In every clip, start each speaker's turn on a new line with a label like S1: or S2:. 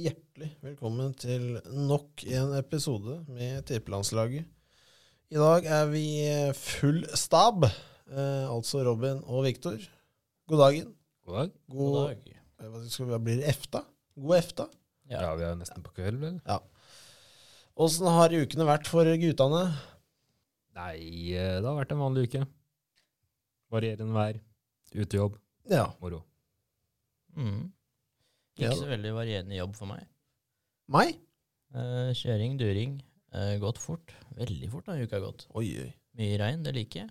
S1: Hjertelig velkommen til nok en episode med Tippelandslaget. I dag er vi full stab, eh, altså Robin og Viktor. God dagen.
S2: God dag.
S1: God,
S3: dag.
S1: eh, Hva skal vi, blir det efta? God efta.
S2: Ja, vi er nesten på kveld, eller?
S1: Åssen har ukene vært for guttene?
S2: Nei, eh, det har vært en vanlig uke. Varierende vær. Utejobb.
S1: Ja.
S2: Moro.
S3: Mm.
S1: Ja.
S3: Ikke så veldig varierende jobb for meg.
S1: Meg?
S3: Eh, kjøring, during, eh, gått fort. Veldig fort da, uka har gått.
S1: Oi, oi.
S3: Mye regn, det liker jeg.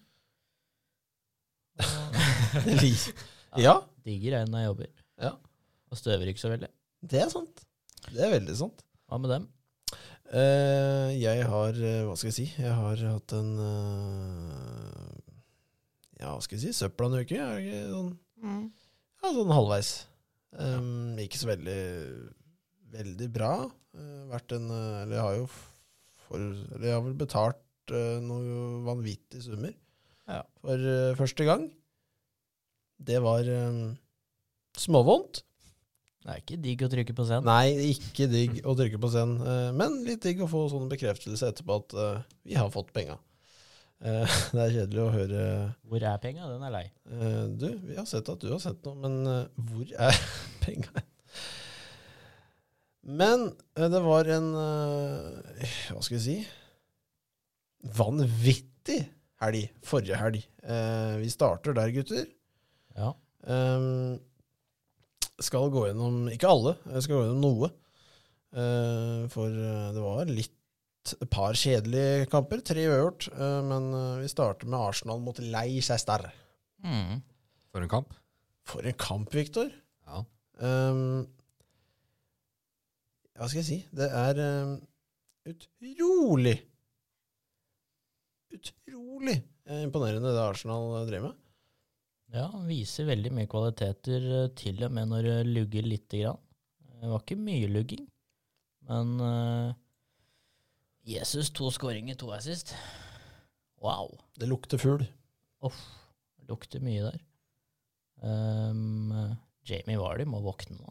S3: Og
S1: Det lik- ja,
S3: digger regn når jeg jobber.
S1: Ja.
S3: Og støver ikke så veldig.
S1: det er sant. Det er veldig sant.
S3: Hva med dem?
S1: Eh, jeg har eh, Hva skal jeg si? Jeg har hatt en eh, Ja, hva skal jeg si? Søpla en uke. Jeg er ikke sånn, ja, sånn halvveis. Em, Ikke så veldig veldig bra. Eh, vært en eh, Eller jeg har jo for, eller jeg har vel betalt eh, noen vanvittige summer
S3: Ja.
S1: for eh, første gang. Det var eh, småvondt.
S3: Det er ikke digg å trykke på scenen.
S1: Nei, ikke digg å trykke på scenen, eh, men litt digg å få sånn bekreftelse etterpå at eh, vi har fått penga. Eh, Det er kjedelig å høre
S3: Hvor er penga? Den er lei.
S1: eh, Du, vi har sett at du har sendt noe, men eh, hvor er penga? Men eh, det var en eh, Hva skal jeg si? Vanvittig helg. Forrige helg. Eh, Vi starter der, gutter.
S3: Ja.
S1: Ehm, skal gå gjennom Ikke alle, jeg skal gå gjennom noe. Eh, for eh, det var litt et par kjedelige kamper. Tre uavgjort. eh, men eh, vi starter med Arsenal mot Leicester.
S3: Mm.
S2: For en kamp.
S1: For en kamp, Viktor!
S2: Ja.
S1: Ehm, hva skal jeg si? Det er ehm, utrolig Utrolig eh, imponerende det Arsenal eh, driver med.
S3: ja, viser veldig mye kvaliteter, eh, til og med når det lugger lite grann. Eh, Det var ikke mye lugging, men eh, Jesus to skåringer, to assist. Wow.
S1: Det lukter fugl.
S3: Uff, lukter mye der. Ehm, Jamie Vardy må våkne nå.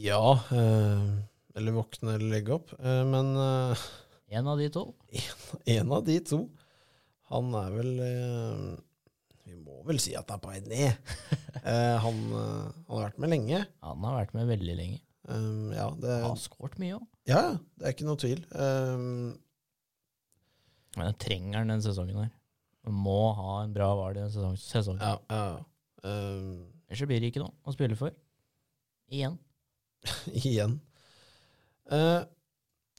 S1: Ja. Eh, eller våkne eller legge opp. Eh, men eh,
S3: En av de to.
S1: en av de to, han er vel eh, Vi må vel si at han er på vei ned. Eh, han, eh, han har vært med lenge.
S3: Han har vært med veldig lenge.
S1: Um, ja, det,
S3: Han har skåret mye òg.
S1: ja, ja, det er ikke noe tvil. Um,
S3: Men jeg trenger han den sesongen her. Man må ha en bra Vardy denne sesong- sesongen.
S1: ja, ja. Um,
S3: Ellers så blir det ikke noe å spille for. Igjen.
S1: igjen. Eh,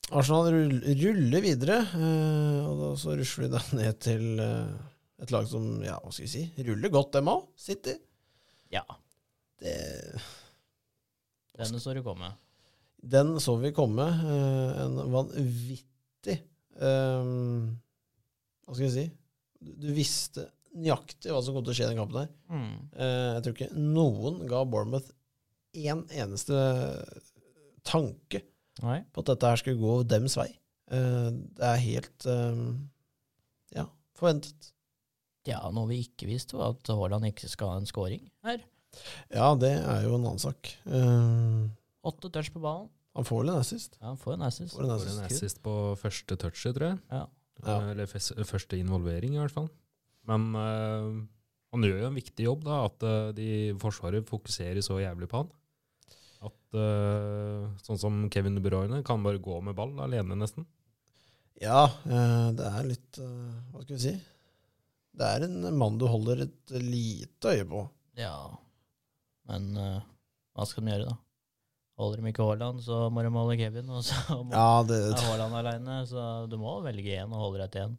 S1: Arsenal rull- ruller videre, eh, og da så rusler de da ned til eh, et lag som ja, hva skal vi si, ruller godt, dem òg. City.
S3: Ja,
S1: Det
S3: denne står det komme.
S1: Den så vi komme. eh, en vanvittig eh, Hva skal jeg si? Du, du visste nøyaktig hva som kom til å skje i den kampen her.
S3: Mm.
S1: Eh, jeg tror ikke noen ga Bournemouth én eneste tanke
S3: Nei.
S1: på at dette her skulle gå dems vei. Eh, det er helt eh, Ja, forventet.
S3: Ja, noe vi ikke visste, var at Haaland ikke skal ha en scoring her.
S1: Ja, det er jo en annen sak. Eh,
S3: Åtte touch på ballen.
S1: han får vel en assist.
S3: Ja, han får en assist.
S1: Får en
S2: For en
S1: assist.
S2: assist på første touchet, tror jeg. Eh,
S3: Ja.
S1: Ja.
S2: Eller fes- første involvering, i hvert fall. Men eh, han gjør jo en viktig jobb, da, at eh, de Forsvaret fokuserer så jævlig på han. At eh, sånn som Kevin De Bruyne kan bare gå med ball alene, nesten.
S1: Ja, eh, det er litt eh, Hva skal vi si? Det er en mann du holder et lite øye på.
S3: Ja, men eh, hva skal de gjøre, da? Holder de ikke Haaland, så må de holde Kevin. Og så må ja.
S1: Ja, det,
S3: Haaland aleine, så du må velge én og holde deg til én.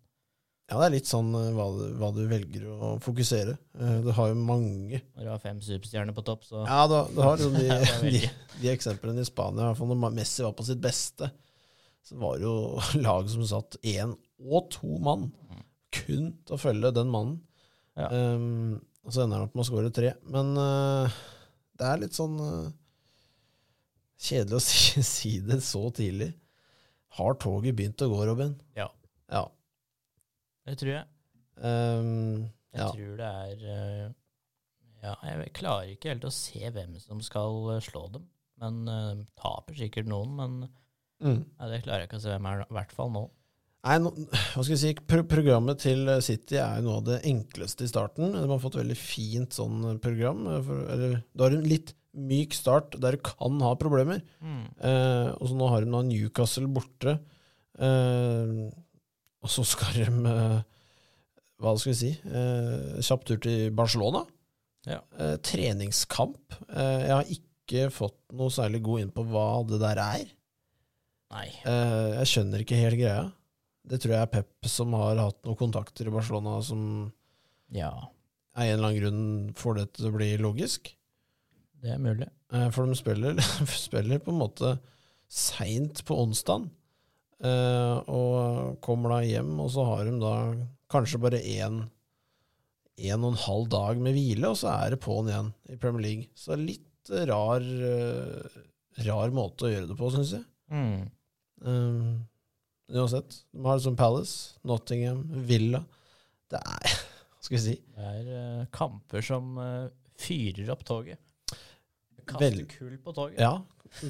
S1: ja, det er litt sånn eh, hva du, hva du velger å fokusere. Eh, Du har jo mange
S3: Når du har fem superstjerner på topp, så
S1: Ja, du, har- du har liksom
S3: Det er bare å
S1: de, de,
S3: velge.
S1: de eksemplene i Spania. I hvert fall når Messi var på sitt beste, så var det jo lag som satt én og to mann kun til å følge den mannen.
S3: Ja.
S1: Ehm, og så ender han opp med å skåre tre. Men eh, det er litt sånn eh, kjedelig å si, si det så tidlig. Har toget begynt å gå, Robin?
S3: Ja.
S1: Ja.
S3: det tror jeg.
S1: Ehm,
S3: Jeg
S1: Ja.
S3: tror det er eh, Ja, jeg klarer ikke helt å se hvem som skal eh, slå dem. Men eh, taper sikkert noen, men
S1: Mm.
S3: nei, det klarer jeg ikke å se hvem er, i hvert fall nå.
S1: Nei, nå- hva skal jeg si, pro Programmet til eh, City er jo noe av det enkleste i starten. De har fått veldig fint sånn program. eh, For, eller, du har en litt myk start der du kan ha problemer. Eh, og så nå har de da Newcastle borte. Eh, og så skal de eh, Hva skal vi si? Eh, kjapp tur til Barcelona.
S3: Ja.
S1: Eh, treningskamp. Eh, jeg har ikke fått noe særlig god inn på hva det der er.
S3: Nei.
S1: Eh, jeg skjønner ikke helt greia. Det tror jeg er Pep som har hatt noen kontakter i Barcelona som
S3: Ja,
S1: av en eller annen grunn får det til å bli logisk.
S3: det er mulig.
S1: Eh, for de spiller, spiller på en måte seint på onsdag. og kommer da hjem, og så har de da kanskje bare én en og en halv dag med hvile, og så er det på'n igjen i Premier League. Så det er litt rar, eh, rar måte å gjøre det på, syns jeg.
S3: Mm.
S1: Um, uansett, de har liksom Palace, Nottingham, Villa. Det er Hva skal vi si?
S3: Det er eh, kamper som eh, fyrer opp toget. Kaster
S1: Vel-
S3: kull på toget.
S1: Ja.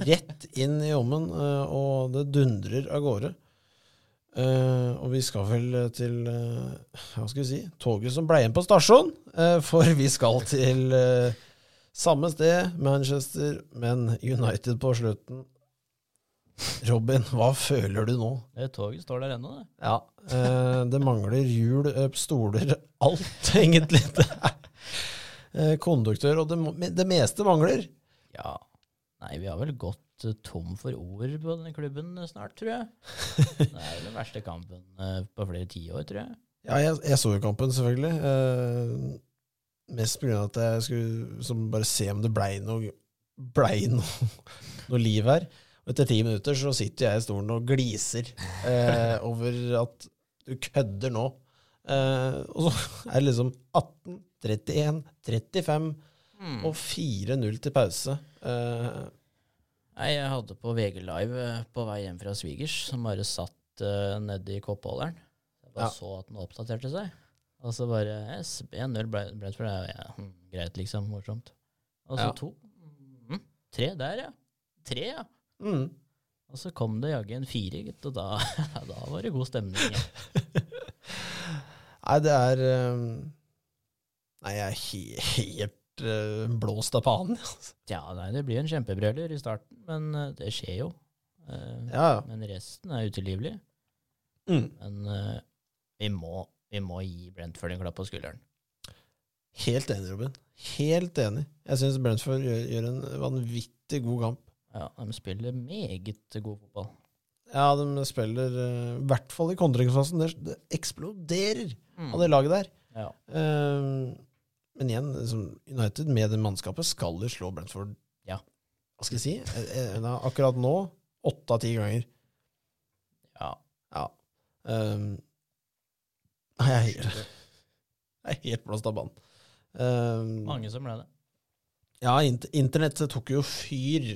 S1: Rett inn i ommen, eh, og det dundrer av gårde. Eh, og vi skal vel til eh, Hva skal vi si? Toget som ble igjen på stasjonen. eh, for vi skal til eh, samme sted, Manchester, men United på slutten. Robin, hva føler du nå?
S3: Det toget står der ennå, det.
S1: Ja. Eh, det mangler hjul, øp, stoler, alt egentlig. Det er. Eh, konduktør, og det, må- men det meste mangler.
S3: Ja. Nei, vi har vel gått eh, tom for ord på denne klubben eh, snart, tror jeg. Det er vel den verste kampen eh, på flere tiår, tror jeg.
S1: Ja, jeg, jeg så jo kampen, selvfølgelig. Eh, mest pga. at jeg skulle som bare se om det blei noe, blei noe, noe liv her. Og etter ti minutter så sitter jeg i stolen og gliser eh, over at du kødder nå. Eh, og så er det liksom 18, 31, 35 og 4-0 til pause. Eh,
S3: Nei, jeg hadde på VG Live eh, på vei hjem fra svigers, som bare satt uh, nedi koppholderen. Jeg bare
S1: Ja.
S3: så at den oppdaterte seg. Og så bare eh, yes, 1-0 ble ble det for deg. Ja, hm, greit, liksom. Morsomt. Og så
S1: Ja.
S3: to. Mm, tre der, ja. Tre, ja.
S1: mm.
S3: Og så kom det jaggu en fire, gitt. Og da, da var det god stemning. igjen.
S1: Nei, det er eh, Nei, jeg er he helt eh, blåst av panen. altså.
S3: Ja, nei, det blir en kjempebrøler i starten, men eh, det skjer jo. Eh,
S1: Ja, ja.
S3: Men resten er utilgivelig.
S1: Mm.
S3: Men eh, vi, må, vi må gi Brentford en klapp på skulderen.
S1: Helt enig, Robin. Helt enig. Jeg syns Brentford gjør, gjør en vanvittig god kamp.
S3: Ja, De spiller meget god fotball.
S1: Ja, de spiller eh, i hvert fall i kontringsfasen. Det, det eksploderer
S3: Mm.
S1: av det laget der.
S3: Ja.
S1: Eh, men igjen, liksom, United med det mannskapet skal jo slå Brentford.
S3: Ja.
S1: Hva skal jeg si? Eh, eh, da, Akkurat nå åtte av ti ganger.
S3: ja.
S1: Ja. Ehm, Nei, jeg er helt, jeg er helt blåst av banen. Ehm,
S3: Mange som ble det.
S1: ja, int internett tok jo fyr,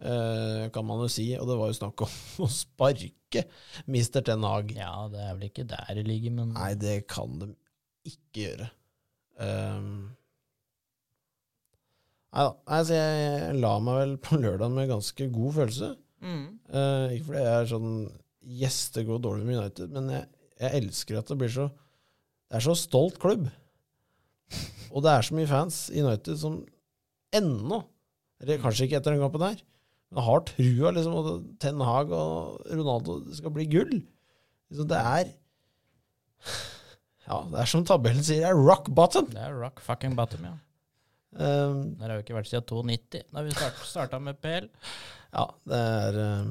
S1: eh, kan man jo si, og det var jo snakk om å sparke Mr. Ten Hag.
S3: Ja, det er vel ikke der det ligger, men
S1: Nei, det kan de ikke gjøre. Ehm, nei da. Nei, så jeg, jeg la meg vel på lørdag med ganske god følelse.
S3: Mm.
S1: Eh, ikke fordi jeg er sånn Yes, det går dårlig med United, men jeg, jeg elsker at det blir så Det er så stolt klubb. Og det er så mye fans i United som ennå eller Kanskje ikke etter den kampen her, men har trua liksom at Ten Hag og Ronaldo det skal bli gull. Liksom, det er Ja, det er som tabellen sier, det er rock bottom.
S3: det er rock fucking bottom, ja.
S1: Eh,
S3: Der har vi ikke vært siden 92, da vi start, starta med PL.
S1: ja, det er eh,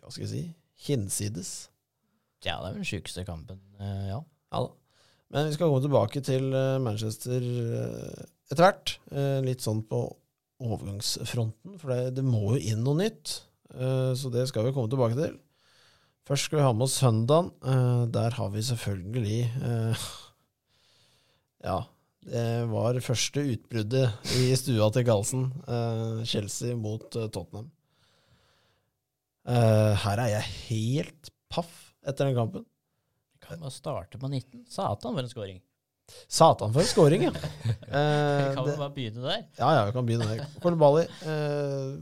S1: Hva skal jeg si? Hinsides.
S3: Ja, det er vel den sjukeste kampen, eh, ja.
S1: Ja da. Men vi skal komme tilbake til eh, Manchester eh, etter hvert. Eh, Litt sånn på overgangsfronten, for det, det må jo inn noe nytt. Eh, Så det skal vi komme tilbake til. Først skal vi ha med oss søndagen. Eh, Der har vi selvfølgelig eh, Ja. Det var første utbruddet i stua til Carlsen. Eh, Chelsea mot eh, Tottenham. Eh, Her er jeg helt paff etter den kampen.
S3: Kan bare starte på 19. Satan, for en scoring.
S1: Satan for en scoring, ja.
S3: Vi
S1: Eh,
S3: kan
S1: det,
S3: vel bare begynne der.
S1: ja, ja, vi kan begynne der. Kornbali eh,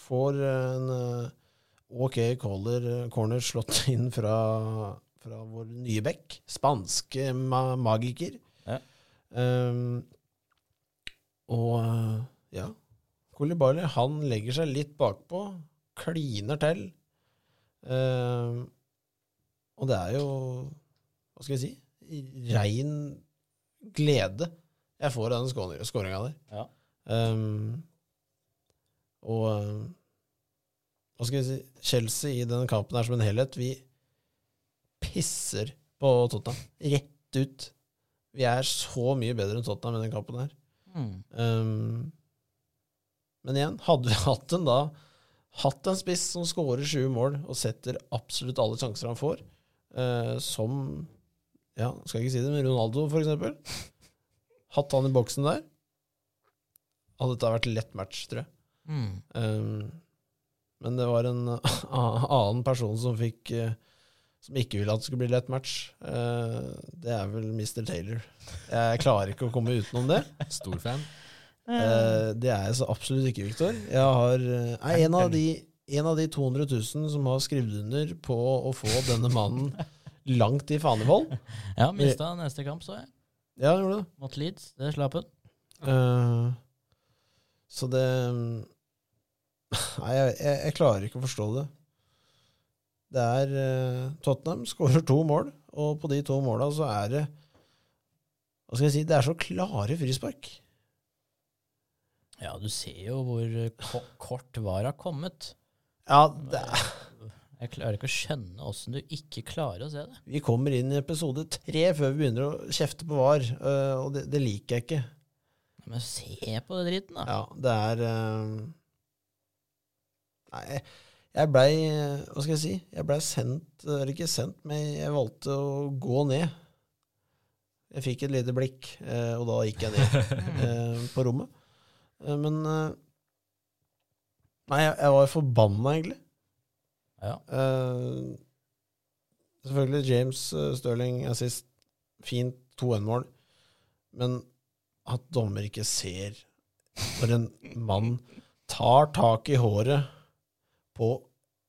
S1: får en eh, OK caller, corner slått inn fra, fra vår nye bekk, spanske ma magiker.
S3: Ja.
S1: Eh, og eh, ja, Kolibali han legger seg litt bakpå, kliner til. Eh, og det er jo, hva skal jeg si, rein glede jeg får av den skåringa der.
S3: Ja.
S1: Ehm, og ehm, hva skal jeg si Chelsea i denne kampen er som en helhet. Vi pisser på Tottenham. Rett ut. Vi er så mye bedre enn Tottenham i den kampen her.
S3: Mm.
S1: Ehm, men igjen, hadde vi hatt en da Hatt en spiss som skårer sju mål og setter absolutt alle sjanser han får, eh, som Ja, skal ikke si det, men Ronaldo, for eksempel. Hatt han i boksen der, hadde dette vært lett match, tror jeg.
S3: Mm.
S1: Ehm, men det var en annen person som fikk eh, som ikke ville at det skulle bli lett match. Eh, det er vel Mr. Taylor. Jeg klarer ikke å komme utenom det.
S2: Stor fan.
S1: Eh, det er jeg så absolutt ikke, Viktor. Jeg har, eh, er en av, de, en av de 200 000 som har skrevet under på å få denne mannen langt i fanevold.
S3: Ja, mista neste kamp, så jeg.
S1: Ja, gjorde det.
S3: Mot Leeds. Det slapp hun.
S1: Eh, så det Nei, jeg, jeg, jeg klarer ikke å forstå det. Det er eh, Tottenham skårer to mål, og på de to måla så er det Hva skal jeg si? Det er så klare frispark.
S3: Ja, du ser jo hvor eh, ko kort VAR har kommet.
S1: Ja, det er
S3: Jeg klarer ikke å skjønne åssen du ikke klarer å se det.
S1: Vi kommer inn i episode tre før vi begynner å kjefte på VAR, øh, og det, det liker jeg ikke.
S3: Men se på den dritten, da.
S1: Ja, det er øh, Nei, jeg- jeg blei Hva skal jeg si? Jeg blei sendt Eller ikke sendt, men jeg valgte å gå ned. Jeg fikk et lite blikk, eh, og da gikk jeg ned eh, på rommet. Eh, Men eh, Nei, jeg, jeg var forbanna, egentlig.
S3: Ja.
S1: Eh, selvfølgelig James eh, Sterling assist. Fint 2-1-mål. Men at dommer ikke ser når en mann tar tak i håret på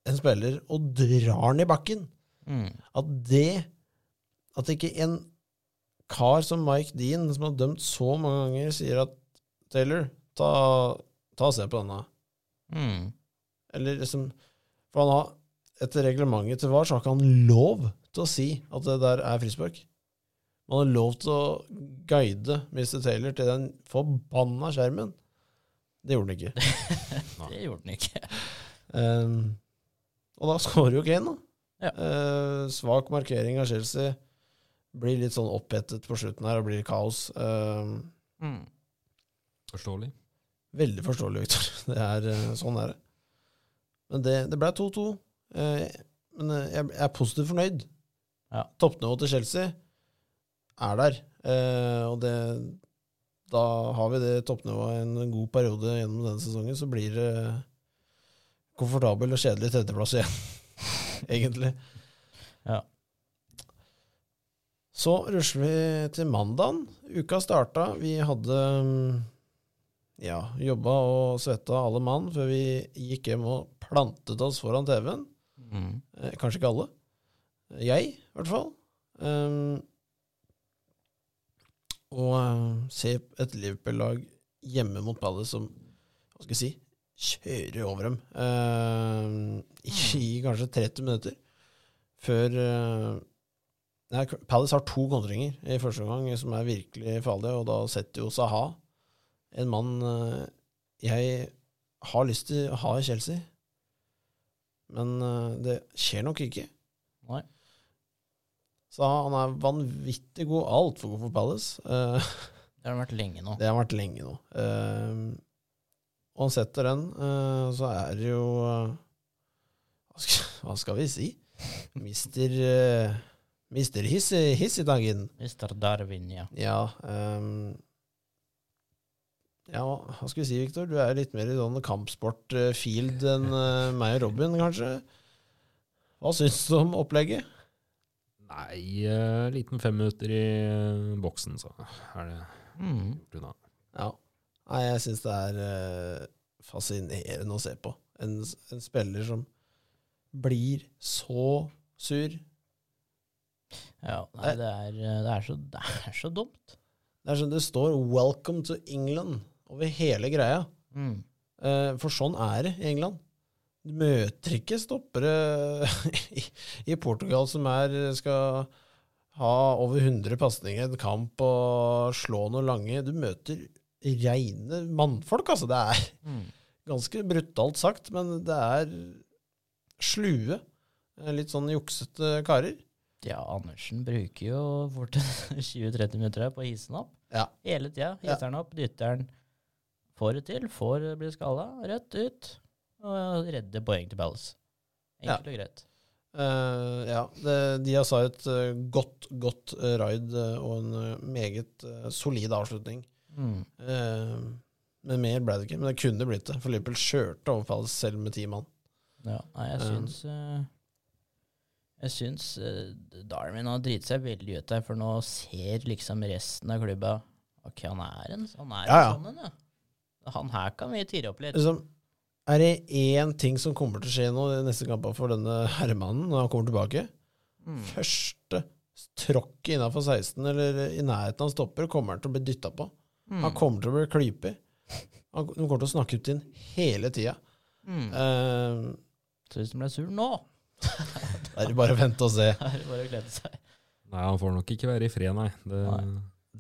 S1: en spiller og drar den i bakken
S3: Mm.
S1: At det At ikke en kar som Mike Dean, som har dømt så mange ganger, sier at Taylor, ta, ta og se på denne.
S3: Mm.
S1: Eller liksom For han har etter reglementet til VAR så har ikke han lov til å si at det der er frispark. Man har lov til å guide Mr. Taylor til den forbanna skjermen. Det gjorde han ikke.
S3: Det gjorde den ikke.
S1: Ehm, og da skårer jo Kane, da.
S3: Ja.
S1: Ehm, svak markering av Chelsea. Blir litt sånn opphetet på slutten her og blir kaos. Ehm,
S3: Mm.
S2: Forståelig.
S1: Veldig forståelig, Victor. Det er, eh, sånn er det. Men det, det ble 2-2. Eh, Men eh, jeg jeg er positivt fornøyd.
S3: Ja.
S1: Toppnivået til Chelsea er der. Eh, Og det, da har vi det toppnivået en god periode gjennom denne sesongen. Så blir det komfortabel og kjedelig tredjeplass igjen, egentlig.
S3: Ja.
S1: Så rusler vi til mandagen. Uka starta. Vi hadde mm, ja, jobba og svetta alle mann før vi gikk hjem og plantet oss foran TV-en.
S3: Mm.
S1: Eh, kanskje ikke alle. Eh, Jeg, i hvert fall. Um, og eh, se et Liverpool-lag hjemme mot Palace som hva skal jeg si, kjører over dem eh, i, i kanskje 30 minutter. Før eh, nei, Palace har to kontringer i første omgang som er virkelig farlige, og da setter jo Saha, en mann eh, jeg har lyst til å ha i Chelsea. Men eh, det skjer nok ikke.
S3: Nei.
S1: Så han er vanvittig god, altfor god for Palace. Eh,
S3: Det har den vært lenge nå.
S1: det har vært lenge nå. Eh, og han setter den, eh, så er det jo eh, hva, skal, hva skal vi si? Mister, eh, mister hiss, hiss i dagen.
S3: Mr. Darwin, ja.
S1: Ja, ehm, ja, hva skal vi si, Victor? Du er litt mer i sånn kampsport-field eh, enn eh, meg og Robin, kanskje. Hva syns du om opplegget?
S2: Nei, eh, liten femminutter i eh, boksen, så er det
S3: Mm.
S2: gjort unna.
S1: Ja. Nei, jeg syns det er eh, fascinerende å se på. En, en spiller som blir så sur.
S3: Ja, nei, det er, det, er så, det er så dumt.
S1: Det er sånn det står 'Welcome to England' over hele greia.
S3: Mm.
S1: Eh, for sånn er det i England. Du møter ikke stoppere i, i Portugal som er, skal ha over 100 pasninger i en kamp og slå noen lange. Du møter reine mannfolk, altså. Det er
S3: Mm.
S1: ganske brutalt sagt, men det er slue, eh, litt sånn juksete karer.
S3: Ja, Andersen bruker jo fort 20-30 minutter her på å hisse den opp.
S1: Ja.
S3: Hele tida.
S1: Ja.
S3: Hisser den opp, dytter den. Får det til, får bli skalla, rett ut. Og redde poeng til Palace.
S1: Ja.
S3: Enkelt og greit.
S1: Eh, ja, det, de har sa et eh, godt, godt eh, raid eh, og en eh, meget eh, solid avslutning.
S3: Mm.
S1: Eh, men mer ble det ikke. Men det kunne blitt det, for Liverpool kjørte over Palace selv med ti mann.
S3: Ja, nei, jeg
S1: Um.
S3: syns eh, Jeg syns eh, Darwin har driti seg veldig ut der, for nå ser liksom resten av klubba Ok, han er en Han er
S1: Ja, ja.
S3: en sånn en, ja. Han her kan vi tire opp litt.
S1: Liksom, er det én ting som kommer til å skje nå i de neste kampene for denne herremannen når han kommer tilbake?
S3: Mm.
S1: Første tråkket innafor 16, eller i nærheten han stopper, kommer han til å bli dytta på.
S3: Mm.
S1: Han kommer til å bli klypig. Han de kommer til å snakke ut til ham hele tida.
S3: Mm.
S1: Eh,
S3: Så hvis han ble sur nå,
S1: da er det bare å vente og se.
S3: er det bare å glede seg.
S2: Nei, han får nok ikke være i fred, nei. Det,
S3: Nei.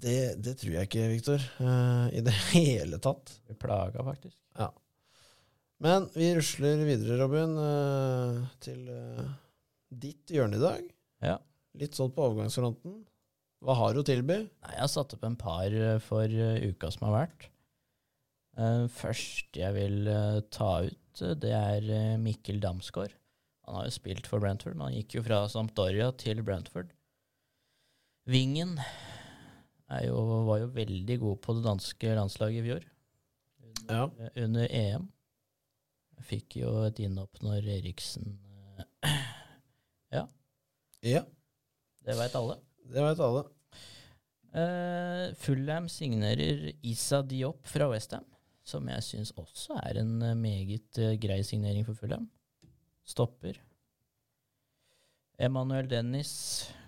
S1: Det, det tror jeg ikke, Viktor. eh, I det hele tatt.
S3: Vi plaga faktisk.
S1: Men vi rusler videre, Robin, eh, til eh, ditt hjørne i dag.
S3: Ja.
S1: Litt sånn på overgangsfronten. Hva har du å tilby?
S3: Nei, jeg har satt opp en par eh, for eh, uka som har vært. Eh, Først jeg vil eh, ta ut, eh, det er eh, Mikkel Damsgaard. Han har jo spilt for Brentford, men han gikk jo fra Sampdoria til Brentford. Vingen er jo, var jo veldig god på det danske landslaget i fjor,
S1: Ja.
S3: eh, under EM. Fikk jo et innhopp når Eriksen eh,
S1: ja
S3: Det veit alle.
S1: det veit alle.
S3: Uh, Fullham signerer Isa Diop fra Westham, som jeg syns også er en eh, meget eh, grei signering for Fullham. Stopper. Emanuel Dennis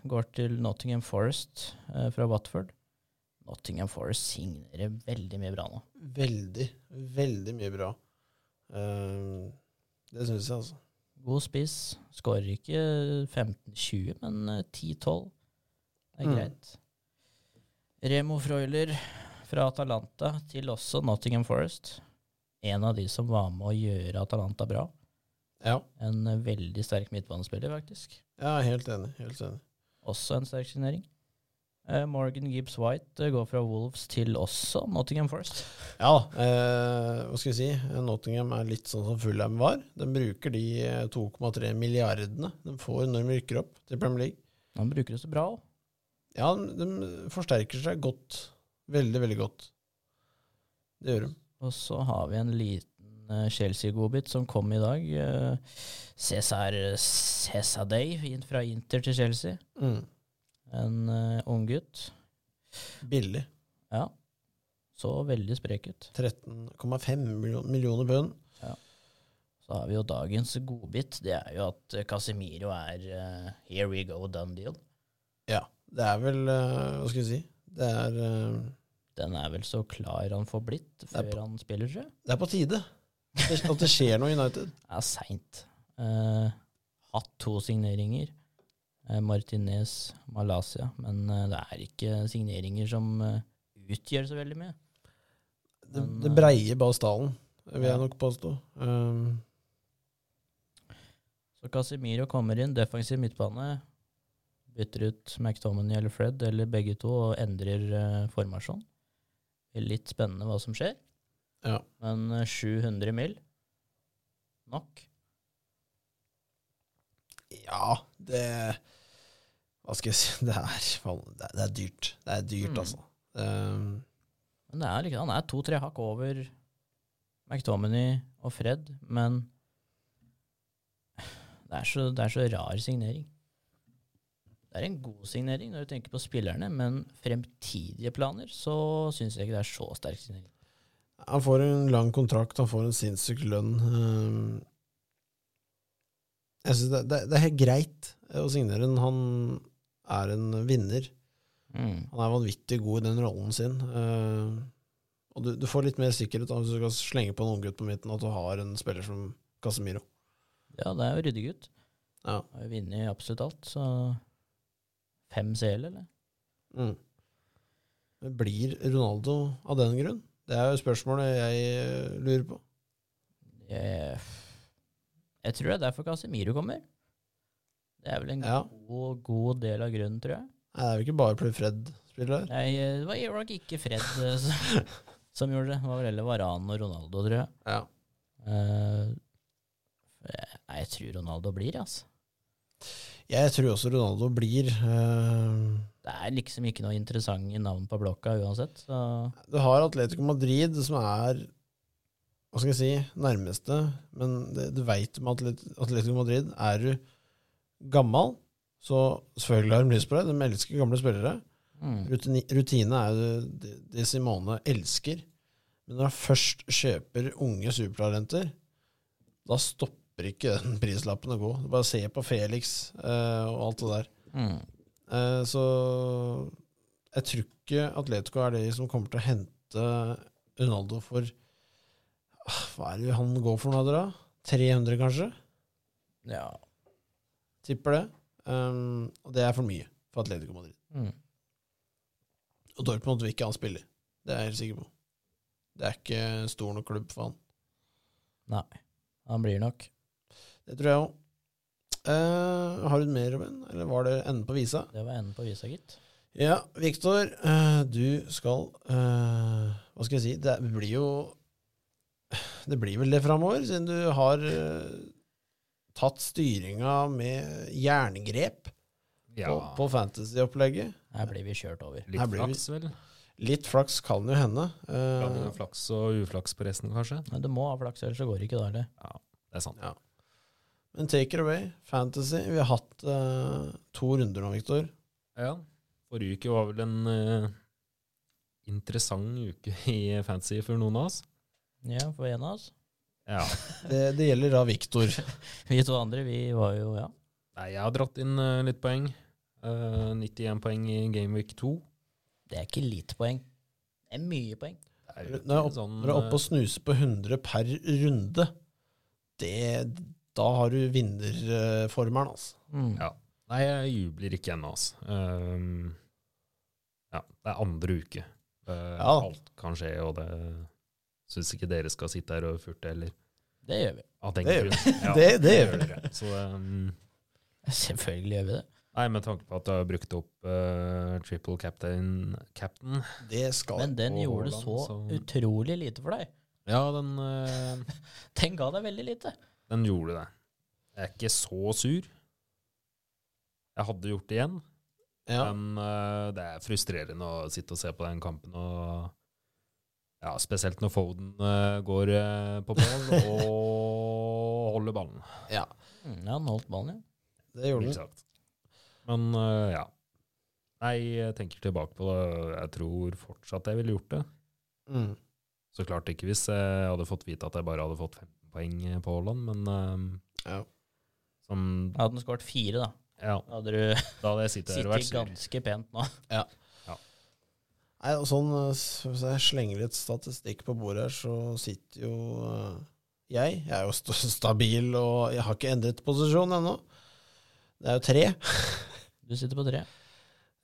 S3: går til Nottingham Forest eh, fra Watford. Nottingham Forest signerer veldig mye bra nå.
S1: Veldig, veldig mye bra. Eh, det syns jeg, altså.
S3: God spiss. Skårer ikke 15-20, men eh, 10-12. Det er
S1: Mm.
S3: greit. Remo Freuler fra Atalanta til også Nottingham Forest. En av de som var med å gjøre Atalanta bra.
S1: Ja,
S3: En eh, veldig sterk midtbanespiller, faktisk.
S1: jeg er helt enig. Helt enig.
S3: Også en sterk signering. Eh, Morgan Gibbs White eh, går fra Wolves til også Nottingham Forest.
S1: Ja da. Eh, hva skal jeg si? Nottingham er litt sånn som Fulham var. De bruker de eh, 2,3 milliardene de får når de rykker opp til Premier League.
S3: Han bruker det så bra òg.
S1: Ja, de, de forsterker seg godt. Veldig, veldig godt. Det gjør de.
S3: Og så har vi en liten eh, Chelsea-godbit som kom i dag. eh, Cesar Cesadei inn fra Inter til Chelsea.
S1: Mm.
S3: En eh, ung gutt.
S1: Billig.
S3: Ja. Så veldig sprek ut.
S1: 13,5 million- millioner pund.
S3: Så har vi jo dagens godbit. Det er jo at eh, Casemiro er eh, here we go, done deal.
S1: Det er vel eh, Hva skal jeg si? Det er, eh,
S3: Den er vel så klar han får blitt
S1: er
S3: før han spiller, tror jeg.
S1: det er på tide Det- at det skjer noe i United.
S3: Det er seint. Eh, hatt to signeringer. Eh, Martinez, Malaysia. Men eh, det er ikke signeringer som eh, utgjør så veldig mye.
S1: Det, det breier Basdalen, vil jeg
S3: Ja.
S1: nok påstå. Um,
S3: Så Casemiro kommer inn, defensiv midtbane. Bytter ut McTominay eller Fred eller begge to og endrer eh, formasjon. Det er litt spennende hva som skjer.
S1: Ja.
S3: Men eh, 700 mil nok.
S1: ja, det Hva skal jeg si? Det er, faen, det er, det er dyrt. Det er dyrt,
S3: Mm.
S1: altså. Um,
S3: Men det er liksom, han er to-tre hakk over McTominay og Fred, men det er så, det er så rar signering. Det Det er en god signering når du tenker på spillerne, men fremtidige planer så syns jeg ikke det er så sterk signering.
S1: Han får en lang kontrakt, han får en sinnssyk lønn. Ehm, Jeg synes det, det, det er helt greit å signere den. Han er en vinner. Han er vanvittig god i den rollen sin. Ehm, Og du, du får litt mer sikkerhet da, hvis du skal slenge på en unggutt på midten, at du har en spiller som Casemiro.
S3: Ja, det er jo ryddig gutt.
S1: Ja.
S3: Har jo vunnet absolutt alt, så Fem CL, eller?
S1: Mm. Men Blir Ronaldo av den grunn? Det er jo spørsmålet jeg eh, lurer på.
S3: Jeg, jeg tror det er derfor Casemiro kommer. Det er vel en
S1: Ja.
S3: god, god del av grunnen, tror jeg.
S1: Nei, det er jo ikke bare fordi Fred spiller der.
S3: Nei, eh, det var jo nok ikke Fred eh, som, som gjorde det. Det var vel heller Varan og Ronaldo, tror jeg.
S1: Ja.
S3: Eh, Nei, jeg tror Ronaldo blir, altså.
S1: Jeg tror også Ronaldo blir eh,
S3: Det er liksom ikke noe interessante navn på blokka uansett. Så
S1: Du har Atletico Madrid, som er hva skal jeg si, nærmeste, men det, du veit med Atlet Atletico Madrid Er du gammel, så selvfølgelig har de lyst på deg. De elsker gamle spillere.
S3: mm.
S1: Rutini, rutine er jo det, det Simone elsker. Men når han først kjøper unge supertalenter, da stopper ikke den prislappen å gå. Du bare se på Felix eh, og alt det der.
S3: Mm.
S1: Eh, Så jeg tror ikke Atletico er de som kommer til å hente Ronaldo for ah, Hva er det han går for nå, da? 300, kanskje?
S3: Ja.
S1: Tipper det. Um, og det er for mye for Atletico Madrid.
S3: Mm.
S1: Og Dortmund vil ikke han spiller. Det er jeg helt sikker på. Det er ikke stor nok klubb for han.
S3: Han blir nok.
S1: Det tror jeg òg. har du mer, Robin? Eller var det enden på visa?
S3: Det var enden på visa, gitt.
S1: Ja, Viktor, eh, du skal eh, Hva skal jeg si? Det blir jo Det blir vel det framover, siden du har eh, tatt styringa med jerngrep
S2: Ja,
S1: på, på fantasy-opplegget.
S3: Her blir vi kjørt over.
S1: her
S2: litt
S1: blir vi-
S2: flaks, vel.
S1: Litt flaks kan jo hende. eh,
S2: Ja, men flaks og uflaks på resten, kanskje.
S3: Men du må ha flaks, ellers så går det ikke, da. Eller?
S2: Det er sant.
S1: men take it away. Fantasy. Vi har hatt eh, to runder nå, Viktor.
S2: Ja. Forrige uke var vel en eh, interessant uke i fantasy for noen av oss.
S3: Ja, for en av oss.
S2: Ja.
S1: Det, det gjelder da Viktor.
S3: Vi to andre, vi var jo Ja.
S2: Nei, jeg har dratt inn eh, litt poeng. Eh, 91 poeng i Gameweek 2.
S3: Det er ikke lite poeng. Det er mye poeng.
S2: Det er jo
S1: Når
S2: ikke
S1: du er opp-
S2: sånn,
S1: Når du er oppe og snuser på 100 per runde, det, da har du vinnerformelen, altså.
S3: Mm.
S2: Ja. eh, Nei, jeg jubler ikke ennå, altså. Ehm, ja, det er andre uke. Eh,
S1: Ja.
S2: Alt kan skje, og det syns ikke dere skal sitte her og furte heller.
S3: Det gjør vi.
S2: Av den
S1: Det gjør-
S2: grunn. Ja,
S1: det- det gjør
S2: dere. Så ehm,
S3: Selvfølgelig gjør vi det.
S2: Nei, med tanke på at jeg har brukt opp eh, triple captain, captain.
S1: Det skal
S3: Men den
S2: og
S3: gjorde
S2: Haaland,
S3: så
S2: så-
S3: utrolig lite for deg.
S2: Ja, den, eh,
S3: Den ga deg veldig lite.
S2: den gjorde det. Jeg er ikke så sur. Jeg hadde gjort det igjen,
S1: ja.
S2: men eh, det er frustrerende å sitte og se på den kampen. Og, ja, spesielt når Foden eh, går eh, på ball og holder ballen,
S1: ja,
S3: Mm, ja, han holdt ballen, ja.
S1: det gjorde
S2: mildt
S1: den.
S2: sagt. Men eh, ja. Nei, jeg tenker tilbake på det. Jeg tror fortsatt jeg ville gjort det.
S1: Mm.
S2: Så klart ikke hvis jeg hadde fått vite at jeg bare hadde fått 15 poeng på Haaland, men eh,
S1: Ja.
S2: som,
S3: Hadde han skåret fire, da,
S2: ja,
S3: Da hadde du
S2: da hadde jeg sittet her og vært
S3: sittet
S2: sur.
S3: ganske pent nå.
S1: Nei, og sånn, eh, s- Hvis jeg slenger litt statistikk på bordet her, så sitter jo eh, jeg. Jeg er jo st stabil, og jeg har ikke endret posisjon ennå. Det er jo tre
S3: Du sitter på tre.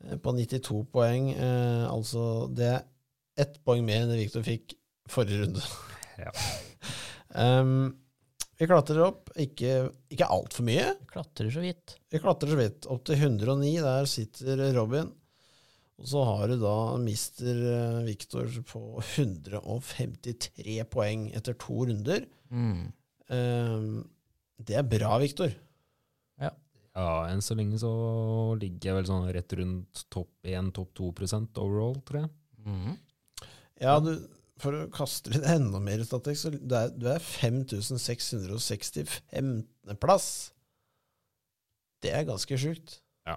S1: eh, på 92 poeng. Eh, altså, det er ett poeng mer enn det Viktor fikk forrige runde.
S2: Ja.
S1: Em, Ehm, vi klatrer opp, ikke, ikke altfor mye.
S3: Du klatrer så vidt.
S1: Vi klatrer så vidt. Opp til 109, der sitter Robin. Og så har du da mister eh, Victor på 153 poeng etter to runder. Ehm, det er bra, Victor.
S2: Ja, enn så lenge så ligger jeg vel sånn rett rundt topp 1, topp 2 prosent overall, tror jeg.
S3: Mhm.
S1: Ja, du, for å kaste litt enda mer statikk, så det er, du er 5665. plass. Det er ganske sjukt.
S3: i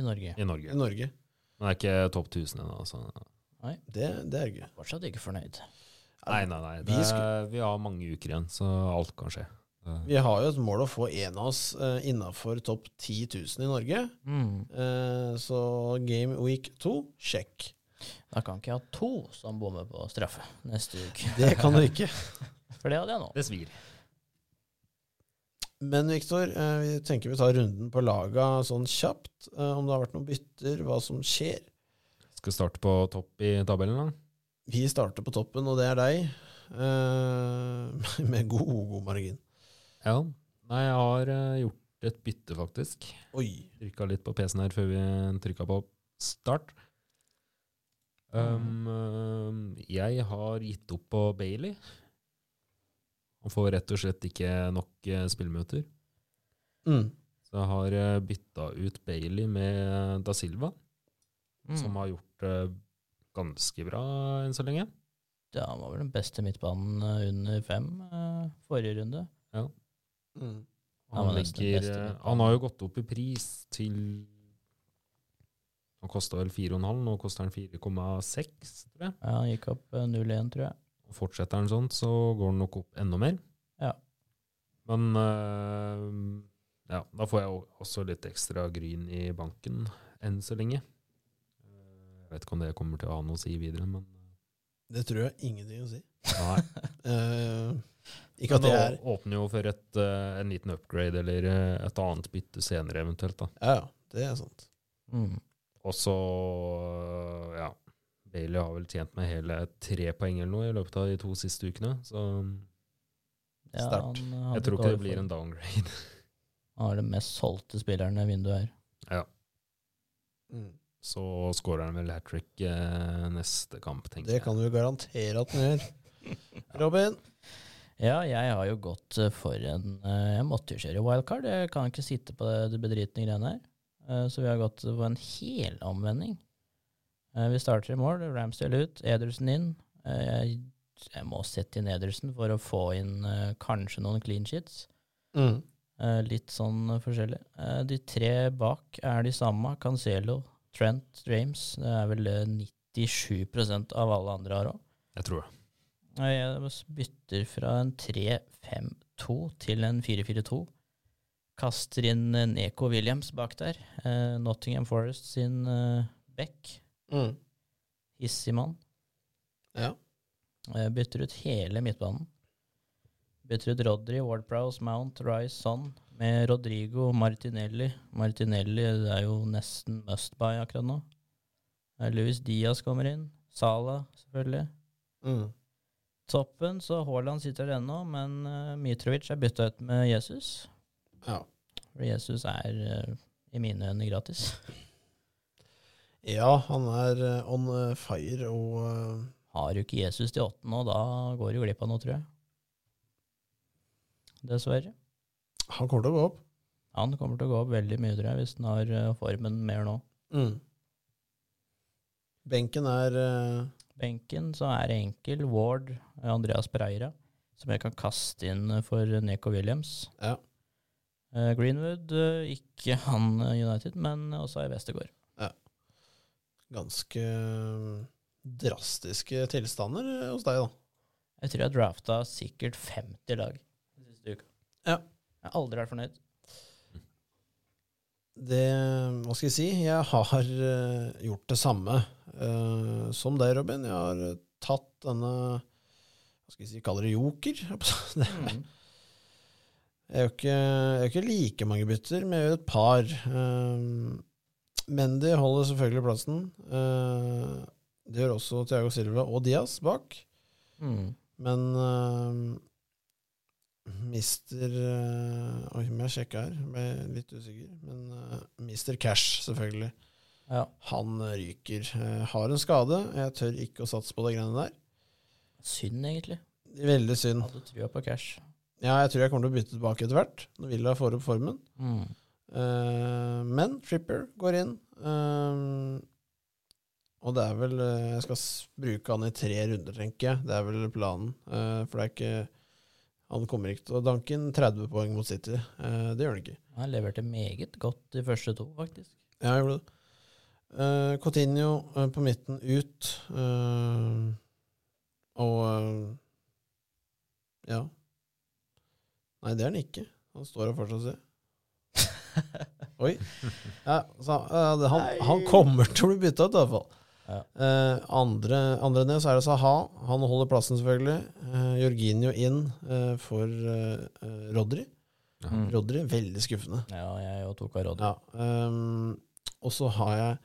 S3: Norge.
S2: i
S1: i
S2: Norge.
S1: Norge.
S2: Men det er ikke topp 1000 ennå. Altså.
S1: Det, det er gøy.
S3: Fortsatt ikke fornøyd.
S2: Nei, nei, nei.
S1: Vi
S2: Det, er- vi har mange uker igjen, så alt kan skje. Det-
S1: Vi har jo et mål å få en av oss uh, innafor topp 10 000 i Norge.
S3: Mm.
S1: Eh, så Game Week 2, sjekk.
S3: Da kan ikke jeg ha to som bommer på straffe neste uke.
S1: Det kan du ikke.
S3: For det hadde jeg nå.
S2: Det svir.
S1: Men Viktor, eh, vi tenker vi tar runden på laga sånn kjapt. eh, om det har vært noen bytter, hva som skjer.
S2: Skal starte på topp i tabellen, da.
S1: Vi starter på toppen, og det er deg. eh, med god, god margin.
S2: Ja. Nei, jeg har eh, gjort et bytte, faktisk.
S1: Oi.
S2: Trykka litt på PC-en her før vi trykka på start. Um, eh, jeg har gitt opp på Bailey. Han får rett og slett ikke nok eh, spillminutter.
S1: Mm.
S2: Så jeg har eh, bytta ut Bailey med eh, Da Silva,
S3: Mm.
S2: som har gjort det ganske bra enn så lenge.
S3: Ja, han var vel den beste midtbanen eh, under fem eh, forrige runde.
S1: Mm.
S3: Han
S2: Han,
S3: var nesten den
S2: ligger, eh,
S3: beste midtbanen.
S2: han har jo gått opp i pris til Han kosta vel 4,5, nå koster han 4,6, tror jeg.
S3: Ja, han gikk opp eh, 0-1, tror jeg.
S2: Og fortsetter han sånn, så går han nok opp enda mer.
S3: Ja.
S2: Men eh, ja, da får jeg jo også litt ekstra gryn i banken enn så lenge. Eh, Jeg vet ikke om det kommer til å ha noe å si videre, men
S1: Det tror jeg ingenting å si.
S2: Nei.
S1: Eh, ikke at
S2: Men
S1: det
S2: det
S1: er
S2: å- åpner jo for et, eh, en liten upgrade eller eh, et annet bytte senere eventuelt. da.
S1: Ja, ja. Det er sant.
S3: Mm.
S2: Og så, eh, ja Bailey har vel tjent med hele tre poeng eller noe i løpet av de to siste ukene. Så
S3: Ja,
S1: Sterkt.
S3: han hadde
S2: jeg tror ikke det
S3: dårlig
S2: blir
S3: form.
S2: en downgrade.
S3: Han er den mest solgte spilleren i vinduet her.
S1: Mm.
S2: Så scorer han vel hat trick eh, neste kamp, tenker
S1: Det kan vi garantere at den gjør. Robin?
S3: Ja, jeg har jo gått eh, for en eh, Jeg måtte jo kjøre wildcard. Jeg kan ikke sitte på det, det bedritne greiene her. Eh, Så vi har gått på en helomvending. Eh, Vi starter i mål. Ramsdale ut, Ederson inn. Eh, Jeg, jeg må sette inn Ederson for å få inn eh, kanskje noen clean sheets.
S1: Mm.
S3: Eh, Litt sånn eh, forskjellig. Eh, De tre bak er de samme. Cancelo, Trent, James. Det er vel eh, 97 av alle andre har òg.
S2: Jeg tror det.
S3: Jeg bytter fra en 3-5-2 til en 4-4-2. Kaster inn eh, Neko Williams bak der. Eh, Nottingham Forest sin eh, back.
S1: Mm.
S3: Hissig mann.
S1: Ja.
S3: Eh, Bytter ut hele midtbanen. Bytter ut Rodri, Wardprowse, Mount, Rice, Son med Rodrigo, Martinelli. Martinelli det er jo nesten must by akkurat nå. Eh, Luis Diaz kommer inn. Sala, selvfølgelig.
S1: Mm.
S3: Toppen, så Haaland sitter der ennå, men eh, Mitrovic er bytta ut med Jesus.
S1: ja.
S3: For Jesus er eh, i mine øyne gratis.
S1: Ja, han er eh, on eh, fire og eh,
S3: Har du ikke Jesus til åtte nå, da går du glipp av noe, tror jeg. Dessverre.
S1: han kommer til å gå opp.
S3: Han kommer til å gå opp veldig mye, tror jeg, hvis han har eh, formen mer nå.
S1: Mm. Benken er eh,
S3: Benken så er det enkel. Ward, eh, Andreas Pereira, som jeg kan kaste inn eh, for Neko Williams.
S1: Ja.
S3: Eh, Greenwood, eh, ikke han eh, United, men også i Vestergaard.
S1: ganske eh, drastiske tilstander eh, hos deg, da.
S3: Jeg tror jeg drafta sikkert 50 lag den siste uka.
S1: Ja.
S3: Jeg har aldri vært fornøyd.
S1: Det, hva skal jeg si, jeg har eh, gjort det samme eh, som deg, Robin. Jeg har eh, tatt denne, hva skal jeg si, kaller det joker. Det
S3: Mm.
S1: Jeg gjør ikke, jeg gjør ikke like mange bytter, men jeg gjør et par. Um, Mendy holder selvfølgelig plassen. Eh, det gjør også Thiago Silva og Diaz bak.
S3: Mm.
S1: Men eh, mister eh, Oi, må jeg sjekke her. Ble litt usikker. Men eh, mister Cash, selvfølgelig.
S3: Ja.
S1: Han ryker. Eh, har en skade. Jeg tør ikke å satse på de greiene der.
S3: Synd, egentlig.
S1: Veldig synd.
S3: Hadde trua på cash.
S1: Ja, jeg tror jeg kommer til å bytte tilbake etter hvert, når Villa får opp formen.
S3: Mm.
S1: Eh, men Tripper går inn. eh, og det er vel eh, Jeg skal s- bruke han i tre runder, tenker jeg. Det er vel planen. Eh, for det er ikke Han kommer ikke til å danke inn 30 poeng mot City. Eh, det gjør han ikke.
S3: Han leverte meget godt de første to, faktisk.
S1: Ja, jeg gjorde det. Eh, Coutinho eh, på midten ut. eh, og eh, Ja. Nei, det er han ikke. Han står her fortsatt, ser jeg. Oi. Ja, så, eh, det, han, han kommer til å bli bytta ut, i hvert fall.
S3: Ja.
S1: Eh, andre, andre ned så er det Saha. Han holder plassen, selvfølgelig. Eh, Jorginho inn eh, for eh, eh, Rodri.
S3: Mm.
S1: Rodri, veldig skuffende.
S3: Ja, jeg og tok av rådet.
S1: Ja, ehm, og så har jeg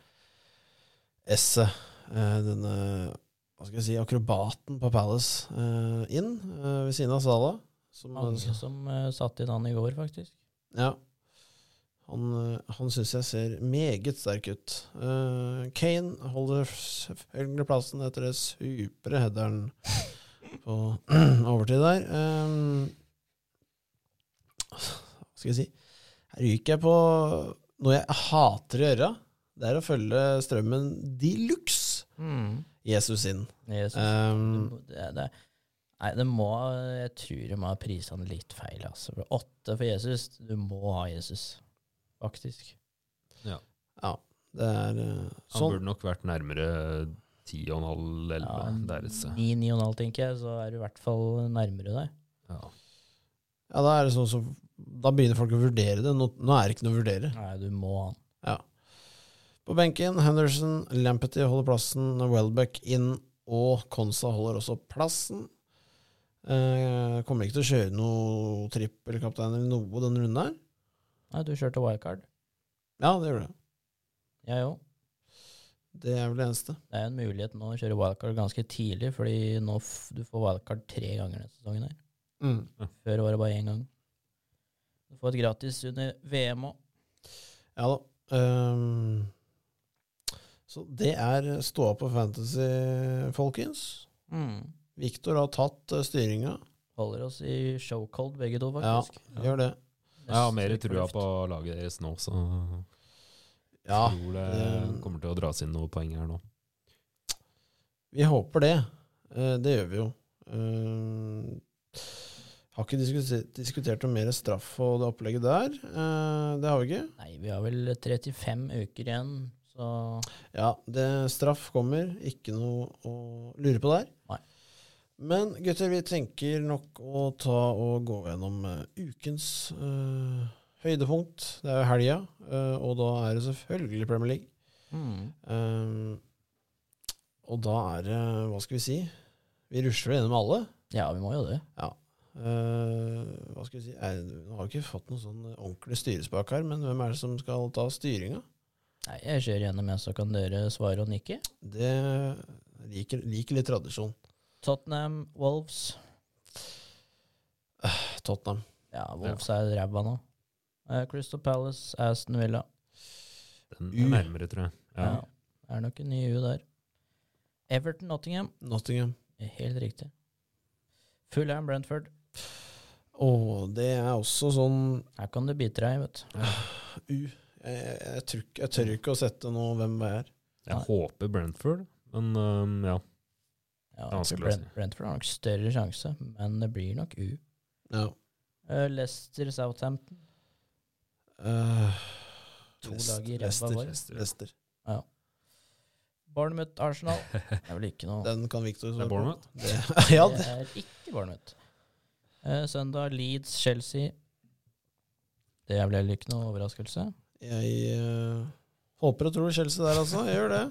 S1: Esset, eh, denne hva skal jeg si, akrobaten på Palace, eh, inn eh, ved siden av Salah. Som,
S3: Mange som eh, satte inn han i går, faktisk.
S1: ja, han eh, han syns jeg ser meget sterk ut. Eh, Kane holder selvfølgelig plassen etter det supre headeren på overtid der. Ehm, hva skal jeg si Her ryker jeg på noe jeg hater å gjøre. Det er å følge strømmen de luxe
S3: Mm.
S1: Jesus inn.
S3: Jeg synes-
S1: Ehm,
S3: Du- det, det, nei, det må Jeg tror de har prisa han litt feil. Altså. For Åtte for Jesus. Du må ha Jesus, faktisk.
S1: det er eh,
S2: Han
S1: sånn.
S2: burde nok vært nærmere 10,5-11
S3: Ja,
S2: der et sted.
S3: Ni, ni og en halv, tenker jeg, så er du i hvert fall nærmere deg.
S2: Ja.
S1: Ja, da, er det sånn som, da begynner folk å vurdere det. Nå, nå er det ikke noe å vurdere.
S3: Nei, du må ha han.
S1: På benken Henderson, Lampety holder plassen, Welbeck inn, og Konsa holder også plassen. Eh, kommer ikke til å kjøre noe trippelkaptein eller noe denne runden her.
S3: Nei, du kjørte wildcard.
S1: Ja, det gjør det.
S3: Jeg òg.
S1: Det er vel det eneste.
S3: Det er en mulighet nå å kjøre wildcard ganske tidlig, fordi nå f du får wildcard tre ganger denne sesongen. her. Før var det bare én gang. Du får et gratis under VM òg.
S1: Ja da. Ehm, så det er ståa på Fantasy, folkens. Viktor har tatt eh, styringa.
S3: Hmm. Holder oss i showcold begge to, faktisk.
S1: Gjør det.
S2: Jeg har mer
S3: Neste
S2: trua
S3: fornuft.
S2: på laget deres nå, så
S1: Ja,
S2: tror det
S1: det-
S2: kommer til å dras inn noen poeng her nå.
S1: Vi håper det. Eh, Det gjør vi jo. Eh, Har ikke diskutert, diskutert noe mer straff og det opplegget der. Eh, Det har vi ikke.
S3: Nei, vi har vel 35 uker igjen, så
S1: Ja, det, straff kommer. Ikke noe å lure på der.
S3: Nei.
S1: Men gutter, vi tenker nok å ta og gå gjennom eh, ukens eh, høydepunkt. Det er jo helga, eh, og da er det selvfølgelig Premier League. Eh, og da er det Hva skal vi si? Vi rusler gjennom alle.
S3: Ja, vi må jo det.
S1: Eh, hva skal vi si er, Nå har vi ikke fått noen sånn ordentlig styrespak her, men hvem er det som skal ta styringa?
S3: Nei, jeg kjører gjennom en, så kan dere svare og nikke.
S1: Det liker, liker litt tradisjon.
S3: Tottenham, Wolves.
S1: Tottenham.
S3: Ja, Wolves er ræva nå. Eh, Crystal Palace, Aston Villa.
S2: Den
S1: U.
S2: er nærmere, tror jeg. Ja.
S3: Ja. Det er nok en ny U der. Everton, Nottingham.
S1: Nottingham.
S3: Helt riktig. Fulham, Brentford.
S1: Og det er også sånn
S3: Her kan du bite deg, vet du.
S1: U. Jeg, jeg, tror ikke- jeg tør ikke å sette nå hvem det er.
S2: Jeg
S3: Nei.
S2: håper Brentford, men øhm, ja.
S3: Ja,
S2: er vanskelig å
S3: Brent,
S2: si.
S3: Brentford har nok større sjanse, men det blir nok U.
S1: Ja.
S3: Eh, Leicester, Southampton.
S1: Eh,
S3: To
S1: Lest-
S3: lag i ræva
S1: Leicester.
S3: var.
S1: Leicester.
S3: Bournemouth, Arsenal. Det er vel ikke noe
S1: Den kan Victor
S2: Det er Bournemouth.
S1: Det- ja, det.
S3: Det er ikke Bournemouth. Eh, søndag Leeds, Chelsea. Det er vel heller ikke noe overraskelse.
S1: Jeg eh, håper og tror Chelsea der, altså. Jeg gjør det.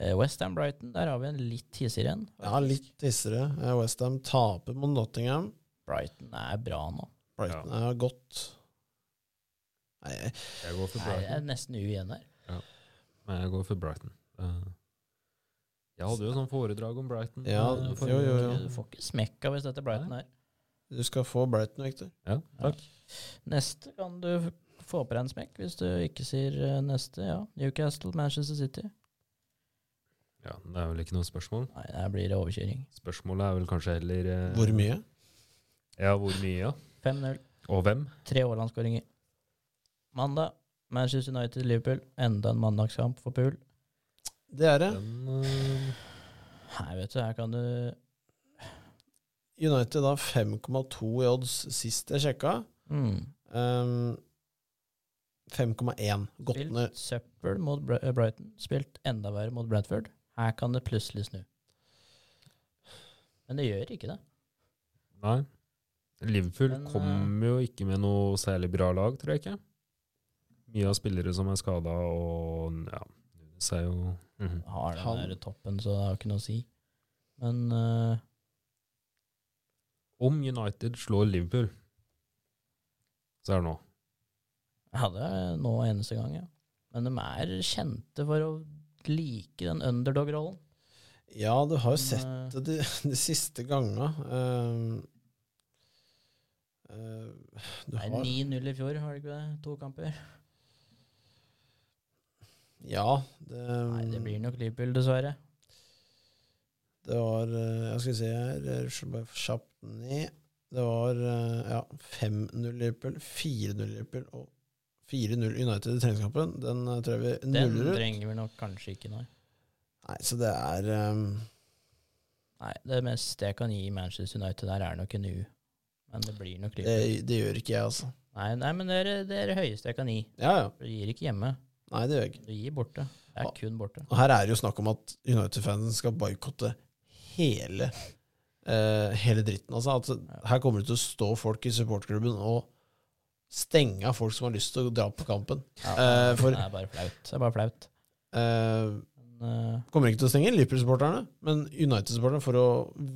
S3: Eh, Westham, Brighton. Der har vi en litt hissigere en.
S1: Ja,
S3: faktisk.
S1: litt hissere. Westham taper mot Nottingham.
S3: Brighton er bra nå.
S1: Brighton er godt. Nei, jeg-
S2: Jeg går for
S3: Nei, det
S2: Brighton.
S3: er nesten U igjen her.
S2: Nei, jeg går for Brighton. Eh, jeg hadde jo sånn foredrag om Brighton.
S1: Ja,
S2: eh,
S3: Du får,
S1: jo, jo,
S3: ikke- Du får ikke smekka hvis dette er Brighton her.
S1: du skal få Brighton, Victor.
S2: Ja, takk.
S3: Neste kan du f- få på deg en smekk hvis du ikke sier eh, neste. Ja, Newcastle, Manchester City.
S2: Ja, det er vel ikke noe spørsmål.
S3: Nei, her blir det overkjøring.
S2: Spørsmålet er vel kanskje heller eh,
S1: Hvor mye?
S2: Ja, hvor mye, ja.
S3: 5-0.
S2: Og hvem.
S3: Tre Haaland-skåringer. Mandag Manchester United Liverpool. Enda en mandagskamp for Pool.
S1: Det er det.
S2: Den eh,
S3: Nei, vet du, her kan du
S1: United har
S3: Hmm.
S1: 5,2 i odds sist jeg sjekka.
S3: mm.
S1: Um, 5,1. Gått ned.
S3: Spilt søppel mot Bra- eh, Brighton. Spilt enda verre mot Brentford. Her kan det plutselig snu. Men det gjør ikke det.
S2: Nei. Liverpool
S3: Men, eh,
S2: kom jo ikke med noe særlig bra lag, tror jeg ikke. Mye av spillere som er skada, og ja Nunes er jo Mhm.
S3: Har den
S1: Han-
S3: der toppen, så det har ikke noe å si. Men eh,
S2: Om United slår Liverpool, så er det nå.
S3: ja, det er nå eneste gang, ja. Men de er kjente for å like den underdog-rollen.
S1: Ja, du har jo
S3: Men,
S1: sett
S3: eh,
S1: det de, de siste gangene. Ehm, eh, du
S3: Nei,
S1: har
S3: 9-0 i fjor, har de ikke det? To kamper.
S1: Ja, det,
S3: Nei, det blir nok Liverpool, dessverre.
S1: Det var eh, Jeg skal se her, jeg skal bare få kjapt ned. Det var eh, ja, 5-0 Liverpool, 4-0 Liverpool og 4-0 United i treningskampen. Den eh, tror jeg vi
S3: Den
S1: nuller ut.
S3: trenger vi nok kanskje ikke, nei.
S1: Nei, så det er eh,
S3: Nei, det meste jeg kan gi Manchester United der, er nok en U. Men det blir nok
S1: det,
S3: Liverpool.
S1: det gjør ikke jeg, altså.
S3: Nei, nei men det er, det er det høyeste jeg kan gi.
S1: Ja, ja.
S3: Du gir ikke hjemme,
S1: Nei, det gjør jeg ikke.
S3: du gir borte. Det er
S1: Ah.
S3: kun borte.
S1: Og her er det jo snakk om at United-fansen skal boikotte hele, eh, hele dritten. Altså, at her kommer det til å stå folk i supportklubben og stenge av folk som har lyst til å dra på kampen.
S3: Ja,
S1: Eh, for-
S3: Det er bare flaut. Det er bare flaut.
S1: Eh,
S3: Men, eh,
S1: kommer ikke til å stenge Liverpool-supporterne, men United-supporterne for å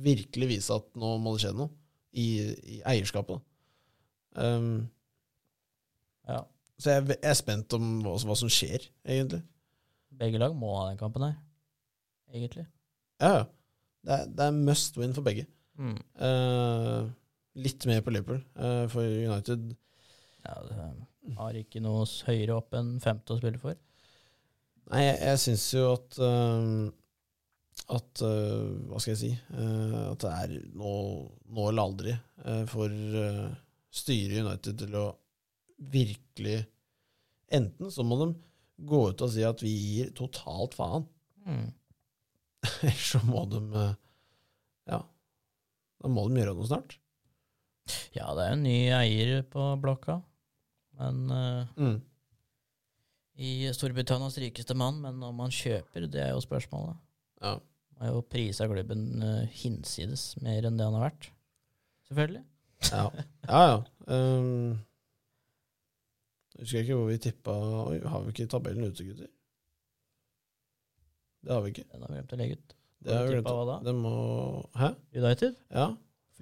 S1: virkelig vise at nå må det skje noe i, i eierskapet. Um,
S3: ja.
S1: så jeg, jeg er spent om hva, som- hva som skjer, egentlig.
S3: Begge lag må ha den kampen her, egentlig.
S1: Ja, ja. Det er, det er must win for begge. Eh, litt mer på Liverpool, eh, for United
S3: Ja, det eh, har ikke noe s- høyere opp enn femte å spille for.
S1: Nei, jeg, jeg syns jo at øhm, At øh, Hva skal jeg si? Eh, at det er nå, nå eller aldri eh, for øh, styret i United til å virkelig Enten så må de gå ut og si at vi gir totalt faen, Mm. eller så må de eh, Ja. Da må de gjøre noe snart.
S3: Ja, det er en ny eier på blokka. Men eh, I Storbritannias rikeste mann, men om han kjøper, det er jo spørsmålet.
S1: Ja.
S3: Han har jo prisa klubben eh, hinsides mer enn det han har vært. Selvfølgelig.
S1: Ja, ja. ja. Øhm, husker jeg ikke hvor vi tippa Oi, har vi ikke tabellen ute, gutter? Det har vi ikke.
S3: Den har vi glemt å legge ut.
S1: Det har
S3: Har du
S1: vi glemt.
S3: tippet hva da?
S1: Det må Hæ?
S3: United?
S1: Ja.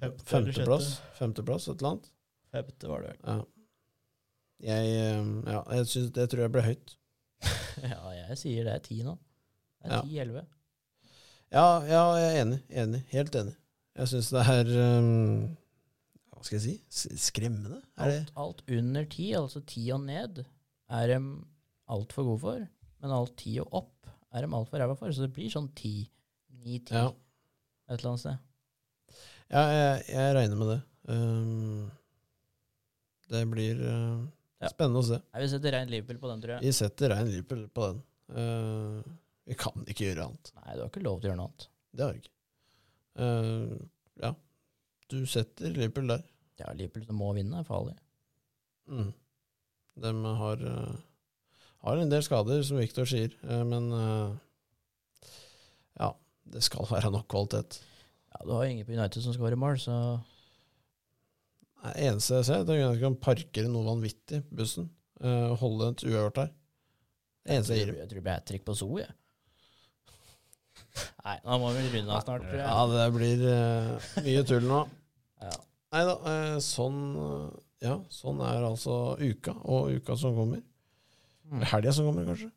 S3: Femte eller sjette?
S1: Femteplass, Femteplass, et eller annet.
S3: Femte var det vel.
S1: Ja. Jeg, øhm, ja, jeg syns det tror jeg ble høyt.
S3: ja, jeg sier det er ti nå. Det
S1: Ja.
S3: er ti-elleve.
S1: Ja, ja, jeg er enig. Enig. Helt enig. Jeg syns det er øhm, Hva skal jeg si? S- Skremmende? Er det
S3: Alt, alt under ti, altså ti og ned, er de altfor gode for. Men alt ti og opp er de altfor ræva for. Så det blir sånn ti, ni-ti
S1: Ja.
S3: et eller annet sted.
S1: Ja, jeg, jeg regner med det. Ehm, det blir eh,
S3: Ja.
S1: spennende å se.
S3: Nei, Vi setter rein Liverpool på den, tror jeg.
S1: Vi setter rein Liverpool på den. Eh, vi kan ikke gjøre annet.
S3: Nei, du har ikke lov til å gjøre noe annet.
S1: Det har vi ikke. Eh, ja. Du setter Liverpool der.
S3: Ja, Liverpool som må vinne, er farlig.
S1: Mm. De har, eh, har en del skader, som Victor sier, eh, men eh, ja, det skal være nok kvalitet.
S3: Ja, Du har jo ingen på United som skårer mål, så
S1: Det eneste jeg ser, det er at de kan parkere noe vanvittig på bussen eh, og holde et uavgjort der. Det eneste jeg gir dem.
S3: tror, jeg tror det blir hat trick på Zoo, jeg. Nei, nå må vi runde av snart, tror
S1: Ja,
S3: jeg.
S1: det blir eh, mye tull nå.
S3: Ja.
S1: Nei da, eh, sånn eh, Ja, sånn er altså uka, og uka som kommer.
S3: Mm.
S1: Helga som kommer, kanskje.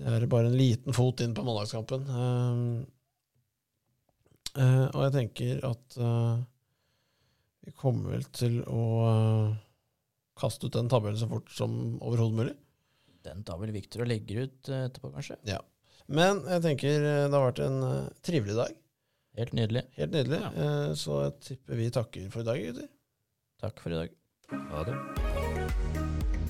S1: Det er bare en liten fot inn på mandagskampen. Eh, eh, og jeg tenker at eh, vi kommer vel til å eh, kaste ut den tabellen så fort som overhodet mulig.
S3: Den tar vel Victor og legger ut eh, etterpå, kanskje.
S1: Men jeg tenker eh, det har vært en eh, trivelig dag.
S3: Helt nydelig.
S1: Helt nydelig.
S2: Ja.
S1: Eh, så jeg tipper vi takker for i dag, gutter.
S3: Takk for i dag.
S2: Ha det.